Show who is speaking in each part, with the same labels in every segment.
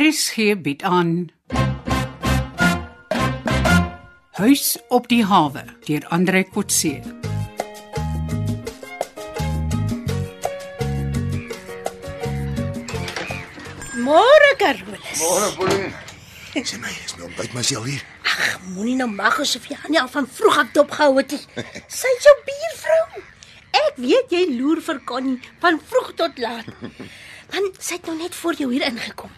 Speaker 1: RSG bied aan Huis op die hawe deur Andre Kotse.
Speaker 2: Môre Carolus.
Speaker 3: Môre, Pauline. Sê my, is my ontbyt nou, my al hier.
Speaker 2: Ag, moenie nou mag asof jy aan al van vroeg af dopgehou het. nie. Sy is jou buurvrou. Ek weet jy loer vir Connie van vroeg tot laat. Want sy het nou net voor jou hier ingekom.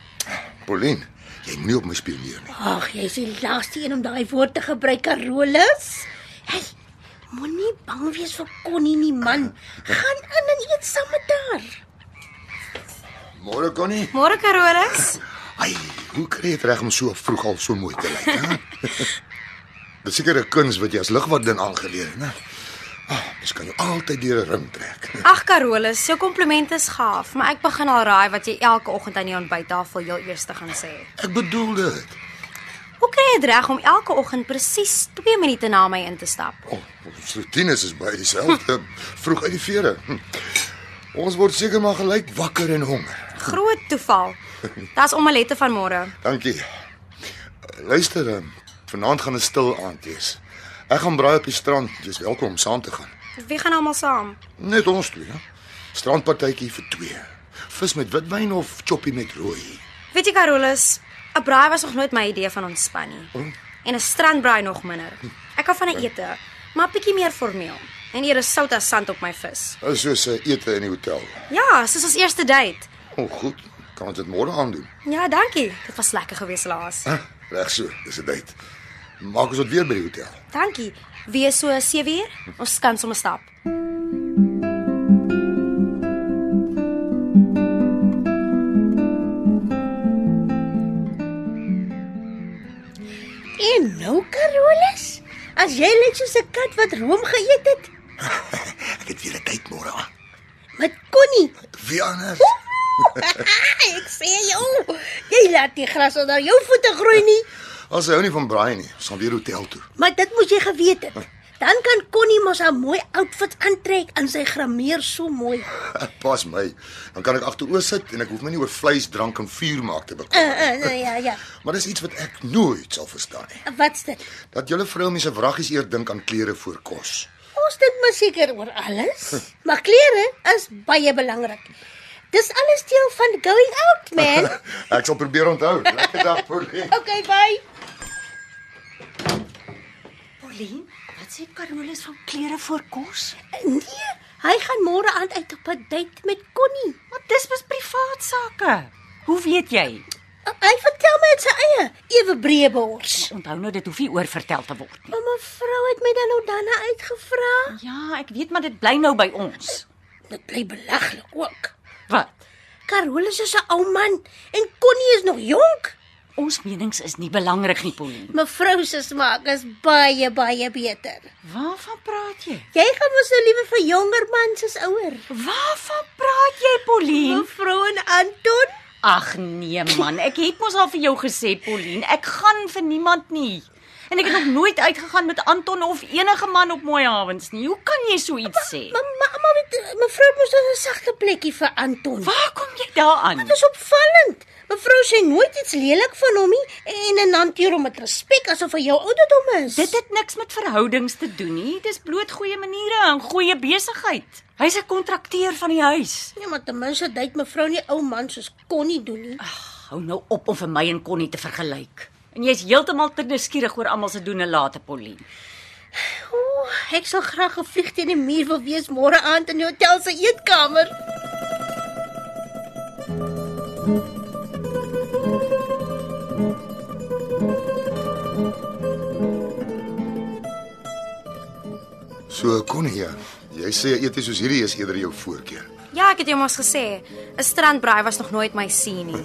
Speaker 3: Pauline, jy moenie op my spioneer nie.
Speaker 2: Ag, jy is die laaste een om daai woord te gebruik, Carolus. Hey, moenie bang wees vir Connie nie, man. Gaan in en eet saam met haar.
Speaker 3: Môre, Connie.
Speaker 4: Môre Carolus.
Speaker 3: Ai, hoe kry jy dit reg om so vroeg al so mooi te lyk, hè? Dis seker 'n kuns wat jy as ligwording aangeleer het, né? Ah, mens kan jou altyd deur 'n ring trek.
Speaker 4: Ag Carolus, jou komplimente is gaaf, maar ek begin al raai wat jy elke oggend aan die ontbyttafel heel eers te gaan sê.
Speaker 3: Ek bedoel dit.
Speaker 4: Hoe kry jy dit reg om elke oggend presies 2 minute na my in te stap?
Speaker 3: O, Ons rutines is baie dieselfde. Vroeg uit die vere. Hm. Ons word seker maar gelyk wakker en honger.
Speaker 4: Groot toeval. Daar's omelette vanmôre.
Speaker 3: Dankie. Luister, eh, vanaand gaan 'n stil aand wees. Ek gaan braai op die strand. Jy's welkom om saam te gaan.
Speaker 4: Wie gaan almal saam?
Speaker 3: Net ons twee, hè. Strandpartytjie vir twee. Vis met witwyn of choppie met rooi.
Speaker 4: Weet jy Carolus, 'n braai was nog nooit my idee van ontspan nie. En 'n strandbraai nog minder. Ek hou van 'n ete, maar bietjie meer formeel. En eer 'n sout as sand op my vis.
Speaker 3: Is soos 'n ete in die hotel.
Speaker 4: Ja, soos ons eerste date.
Speaker 3: O, oh, goed. Kan ons dit môre aandoen?
Speaker 4: Ja, dankie. Dit was lekker geweest laas.
Speaker 3: Huh? Reg so, dis 'n date. Maak ons dit weer by die hotel.
Speaker 4: Dankie. Wees so 7 uur. Ons kan sommer stap.
Speaker 2: En nou, Carolus, as jy net soos 'n kat wat room geëet het
Speaker 3: Ek het weer 'n date môre aan.
Speaker 2: met Connie.
Speaker 3: Wie anders?
Speaker 2: ek sê jou, jy laat die gras onder jou voete groei nie,
Speaker 3: As hy hou nie van braai nie, ons gaan weer hotel toe.
Speaker 2: maar dit moes jy geweet het. Dan kan Connie mos haar mooi outfit aantrek en sy grameer so mooi.
Speaker 3: Ek pas my. Dan kan ek agteroor sit en ek hoef my nie oor vleis, drank en vuur maak te
Speaker 2: Uh,
Speaker 3: bekommer.
Speaker 2: uh, uh, ja ja.
Speaker 3: Maar dis iets wat ek nooit sal verstaan nie.
Speaker 2: Wat's dit?
Speaker 3: Dat julle vroumense wraggies eer dink aan klere voor kos.
Speaker 2: Ons dink maar seker oor alles, maar klere is baie belangrik. Dis alles deel van going out, man.
Speaker 3: Ek sal probeer onthou. Lekker dag, Pauline.
Speaker 2: Okay, bye.
Speaker 5: Pauline, wat sê Carolus van klere voor kos?
Speaker 2: Nee, hy gaan môre aand uit op 'n date met Connie.
Speaker 5: Maar dis mos privaat sake. Hoe weet jy?
Speaker 2: Uh, Hy vertel my dit sy eie, ewe breë bors.
Speaker 5: Onthou nou dit hoef nie oor vertel te word nie.
Speaker 2: Maar mevrou het my dan nou daarna uitgevra.
Speaker 5: Ja, ek weet maar dit bly nou by ons.
Speaker 2: Dit bly belaglik ook.
Speaker 5: Wat?
Speaker 2: Carolus is 'n ou man en Connie is nog jonk.
Speaker 5: Ons menings is nie belangrik nie, Pauline.
Speaker 2: Mevrou se smaak is baie baie beter.
Speaker 5: Waarvan praat jy?
Speaker 2: Jy gaan mos nou liever vir jonger mans as ouer.
Speaker 5: Waarvan praat jy, Pauline?
Speaker 2: Mevrou en Anton,
Speaker 5: Ag nee man, ek het mos al vir jou gesê, Pauline, ek gaan vir niemand nie. En ek het nog nooit uitgegaan met Anton of enige man op mooi hawens nie. Hoe kan jy so iets sê?
Speaker 2: mamma, mamma met mevrou moes dan 'n sagte plekkie vir Anton.
Speaker 5: Waar kom jy daaraan?
Speaker 2: Dit is opvallend. Mevrou sê nooit iets lelik van hom nie en en hanteer hom met respek asof hy jou ouderdom is.
Speaker 5: Dit het niks met verhoudings te doen nie. Dis bloot goeie maniere en goeie besigheid. Hy's 'n kontrakteur van die huis.
Speaker 2: nee, maar ten minste date mevrou nie ou man soos Connie doen nie.
Speaker 5: Hou nou op om vir my en Connie te vergelyk. En jy's heeltemal te nuuskierig oor almal se doen en late, Pauline.
Speaker 2: Ooh, ek sal graag gevlieg teen die muur wil wees môre aand in die hotel se eetkamer.
Speaker 3: So Connie, ja, jy sê eet soos hierdie is eerder jou voorkeur.
Speaker 4: Ja, ek het jou mos gesê, 'n strandbraai was nog nooit my sien nie.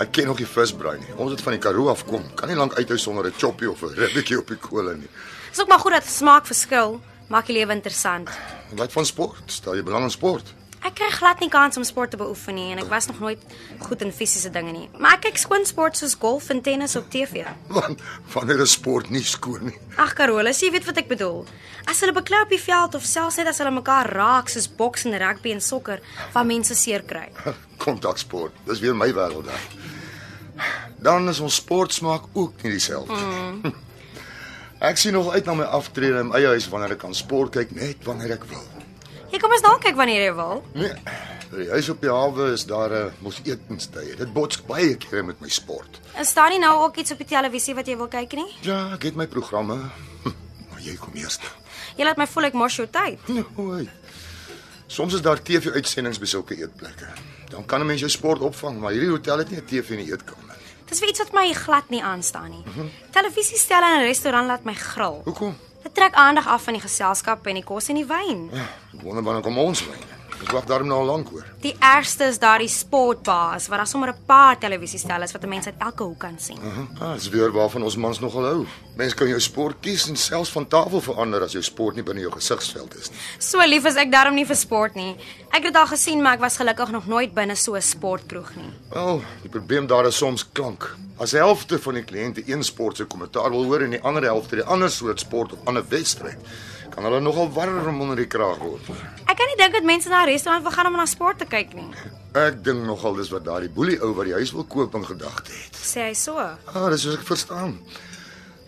Speaker 3: Ek ken nog die visbraai nie. Ons het van die Karoo af kom. Kan nie lank uithou sonder 'n choppie of 'n ribbetjie op die kolle nie.
Speaker 4: Dis ook maar goed dat smaak verskil, maak die lewe interessant.
Speaker 3: Wat van sport? Stel jy belang in sport?
Speaker 4: Ek kry glad nie kans om sport te beoefen nie en ek was nog nooit goed in fisiese dinge nie. Maar ek kyk skoon sport soos golf en tennis op TV.
Speaker 3: Want wanneer is sport nie skoon nie?
Speaker 4: Ag Carolus, jy weet wat ek bedoel. As hulle beklou op die veld of selfs net as hulle mekaar raak soos boks en rugby en sokker, waar mense seer kry.
Speaker 3: Kontaksport. Dis weer my wêreld daar. dan is ons sportsmaak ook nie dieselfde nie. Ek sien nog uit na my aftrede in my eie huis wanneer ek kan sport kyk net wanneer ek wil.
Speaker 4: Jy kom ons dalk kyk wanneer jy wil.
Speaker 3: Nee. By die huis op die hawe is daar 'n uh, mos etenstye. Dit bots baie kere met my sport.
Speaker 4: Is daar nie nou ook iets op die televisie wat jy wil kyk nie?
Speaker 3: Ja, ek het my programme. Hm, Maar jy kom eers.
Speaker 4: Jy laat my voel ek mors jou tyd.
Speaker 3: Nooit. Soms is daar TV-uitsendings by sulke eetplekke. Dan kan 'n mens jou sport opvang, maar hierdie hotel het nie 'n TV in die eetkamer nie.
Speaker 4: Dis vir iets wat my glad nie aanstaan nie. Televisiestelle in 'n restaurant laat my gril.
Speaker 3: Hoekom?
Speaker 4: Dit trek aandag af van die geselskap en die kos en die wyn.
Speaker 3: Ek wonder wanneer kom ons my. Ek wag daarom nou al lank hoor.
Speaker 4: Die ergste is daardie sportbaas waar daar sommer 'n paar televisiestelle is wat 'n mens uit elke hoek kan sien.
Speaker 3: Ah, dis weer waarvan ons mans nogal hou. Mens kan jou sport kies en selfs van tafel verander as jou sport nie binne jou gesigsveld is nie.
Speaker 4: So lief is ek daarom nie vir sport nie. Ek het dit al gesien, maar ek was gelukkig nog nooit binne so 'n sportkroeg nie.
Speaker 3: Wel, die probleem daar is soms klank. As die helfte van die kliënte een sport se kommentaar wil hoor en die ander helfte die ander soort sport of ander wedstryd, kan hulle nogal warm onder die kraag word.
Speaker 4: Ek kan nie dink dat mense na 'n restaurant wil gaan om na sport te kyk nie.
Speaker 3: Ek dink nogal dis wat daardie boelie ou wat die huis wil koop in gedagte het.
Speaker 4: Sê hy so.
Speaker 3: Ah, dis soos ek verstaan.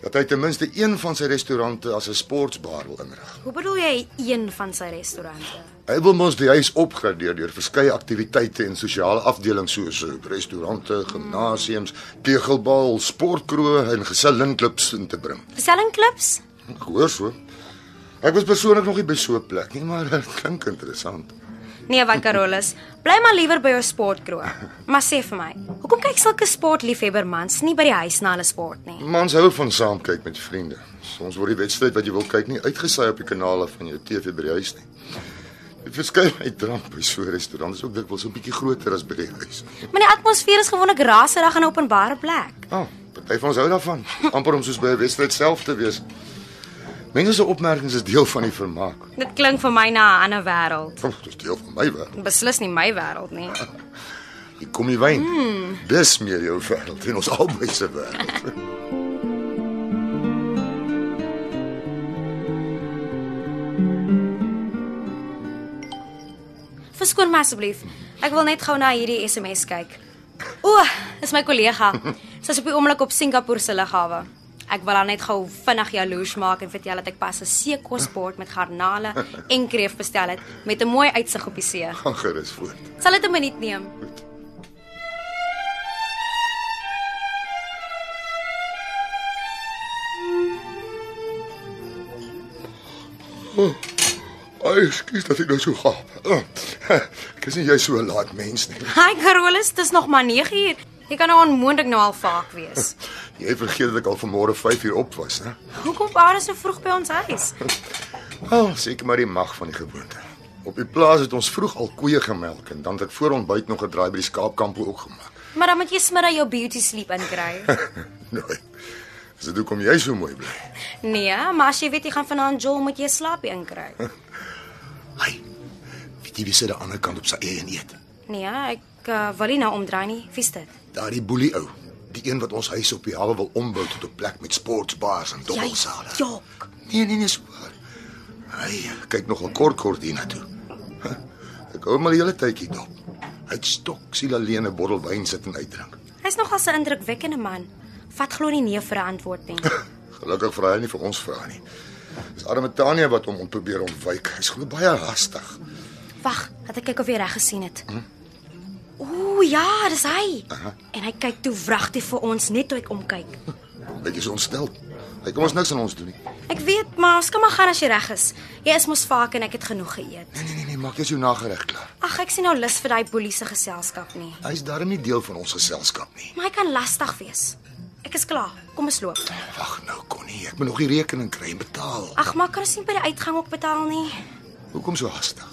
Speaker 3: Dat hy ten minste een van sy restaurante as 'n sportsbar wil inrig.
Speaker 4: Hoe bedoel jy een van sy restaurante?
Speaker 3: Hy wil mos die huis opgradeer deur verskeie aktiwiteite en sosiale afdelings soos eh, restaurante, gimnasiums, kegelbal, sportkroë en gesellinklubs in te bring.
Speaker 4: Versellingklubs?
Speaker 3: Ek hoor so. Ek was persoonlik nog nie by so 'n plek nie, maar dit klink interessant.
Speaker 4: Nee, wat Carolus, bly maar liewer by jou sportkroeg. Maar sê vir my, hoekom kyk sulke sportliefhebber mans nie by die huis na hulle sport nie?
Speaker 3: Mans hou van saam kyk met vriende. Soms word die wedstryd wat jy wil kyk nie uitgesaai op die kanale van jou TV by die huis nie. Die verskeidenheid drank by so 'n restaurant is ook dikwels 'n bietjie groter as by die huis.
Speaker 4: Maar die atmosfeer is gewoonlik raserig in 'n openbare plek.
Speaker 3: Ja, oh, party van ons hou daarvan, amper om soos by 'n wedstryd self te wees. Mense se opmerkings is deel van die vermaak.
Speaker 4: Dit klink vir my na 'n ander wêreld.
Speaker 3: Dit is deel van my wêreld.
Speaker 4: Beslis nie my wêreld nie.
Speaker 3: Hier kom die wyn. Mm. Dis meer jou wêreld en ons albei se wêreld.
Speaker 4: Verskoon my asseblief. Ek wil net gou na hierdie SMS kyk. O, dis my kollega. Sy's op die oomblik op Singapore se lughawe. Ek wil haar net gou vinnig jaloers maak en vertel dat ek pas 'n seekosbord met garnale en kreef bestel het met 'n mooi uitsig op die see.
Speaker 3: Gaan gerus voort.
Speaker 4: Sal dit 'n minuut neem?
Speaker 3: Ai, ekskuus dat ek nou so gaap. Oh, ek is nie jy so 'n laat mens nie.
Speaker 4: Hi Carolus, dis nog maar 9uur. Jy kan nou onmoontlik nou al vaak wees.
Speaker 3: Jy vergeet dat ek al vanmôre 5 uur op was, hè?
Speaker 4: Hoekom pa is so vroeg by ons huis?
Speaker 3: Wel, seker maar die mag van die gewoonte. Op die plaas het ons vroeg al koeie gemelk en dan het ek voor ontbyt nog 'n draai by die skaapkamp ook gemaak.
Speaker 4: Maar dan moet jy smiddag jou beauty sleep inkry.
Speaker 3: Nee. Dis dit hoekom jy so mooi bly.
Speaker 4: Nee, maar as jy weet jy gaan vanaand jol, moet jy slaapie inkry.
Speaker 3: Hy. Weet jy wie sit aan die ander kant op sy eie en eet?
Speaker 4: Nee, ek uh, wil nie nou omdraai nie. Wie's dit?
Speaker 3: Daardie boelie ou, die een wat ons huis op die hawe wil ombou tot 'n plek met sportsbars en dobbelsale.
Speaker 4: jok.
Speaker 3: Nee, nee, nee, swaar. Hy kyk nogal kort kort hiernatoe. Ek hou maar die hele tydjie dop. Hy het stok siel alleen 'n bottel wyn sit en uitdrink.
Speaker 4: Hy's nogal 'n indrukwekkende man. Vat glo nie nee vir 'n antwoord nie.
Speaker 3: Gelukkig vra hy nie vir ons vra nie. Dis arme Tania wat hom ont- probeer ontwyk. Hy's glo baie hastig.
Speaker 4: Wag, laat ek kyk of jy reg gesien het. Ooh, ja, dis hy. En hy kyk toe wragtig vir ons net toe ek omkyk.
Speaker 3: Bietjie so ontstel. Hy kom ons niks aan ons doen nie. Nee,
Speaker 4: Ek weet, maar ons kan maar gaan as jy reg is. Jy is mos vaak en ek het genoeg geëet.
Speaker 3: Nee, nee, nee, nee, maak jous jou nagereg klaar.
Speaker 4: Ag, ek sien nou lus vir daai boelie se geselskap nie.
Speaker 3: Hy's darm nie deel van ons geselskap nie.
Speaker 4: Maar hy kan lastig wees. Ek is klaar. Kom ons loop.
Speaker 3: Wag nou, Connie, ek moet nog die rekening kry en betaal.
Speaker 4: Ag, maar kan ons nie by die uitgang ook betaal nie?
Speaker 3: Hoekom so haastig?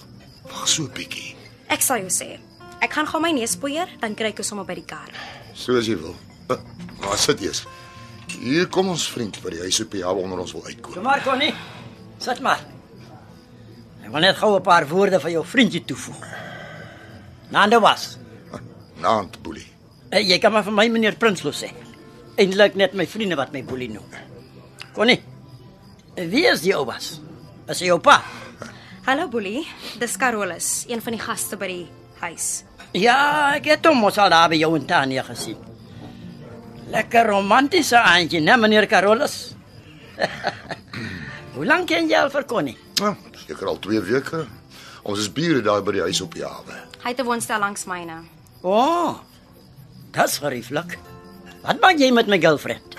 Speaker 3: Wag so 'n bietjie.
Speaker 4: Ek sal jou sê. Ek gaan gou my neus poeier, dan kry ek jou sommer by die kar.
Speaker 3: Soos jy wil. Eh, Waar sit jy? Hier kom ons vriend by die huis op die hawe onder ons wil
Speaker 6: Kom
Speaker 3: uitkom.
Speaker 6: maar Connie. Sit maar. Ek wil net gou 'n paar woorde van jou vriendjie toevoeg. Nando was.
Speaker 3: Naand boelie.
Speaker 6: Eh, Jy kan maar vir my meneer Prinsloo sê. Eindelik net my vriende wat my boelie noem. Connie. eh, Wie is die ou was? Is hy jou pa?
Speaker 4: Hallo Boelie, dis Carolus, een van die gaste by die huis.
Speaker 6: Ja, ek het hom mos al daar by jou en Tania gesien. Lekker romantische aantje, né, meneer Carolus? Hoe lang ken jy al vir Connie?
Speaker 3: Ja, seker al 2 weke. Ons is bure daar by die huis op die hawe.
Speaker 4: Hy het 'n woonstel langs myne.
Speaker 6: O, oh, dis gerieflik. Wat maak jy met my girlfriend?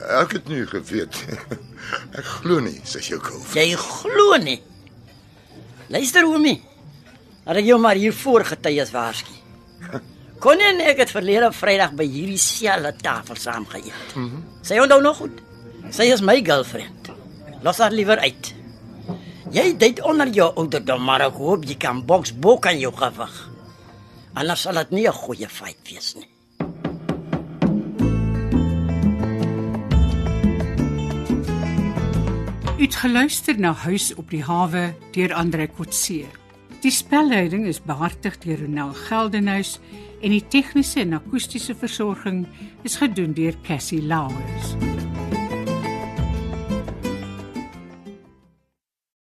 Speaker 3: Ek het nie geweet. Ek glo nie, sê jou koof.
Speaker 6: Jy glo nie. Luister, oomie. Had ek jou maar hier voor getuies waarsku. Connie en ek het verlede Vrydag by hierdie selfde tafel saam geëet. Mm -hmm. Sy onthou nog goed. Sy is my girlfriend. Los haar liewer uit. Jy date onder jou ouderdom, maar ek hoop jy kan boks bo kan jou gewig. Anders sal dit nie 'n goeie fight wees nie.
Speaker 1: Uitgeluister na Huis op die hawe deur Andre Kotse. Die spelleiding is behartig deur Ronel Geldenhuys en die tegniese en akoestiese versorging is gedoen deur Cassie Lauers.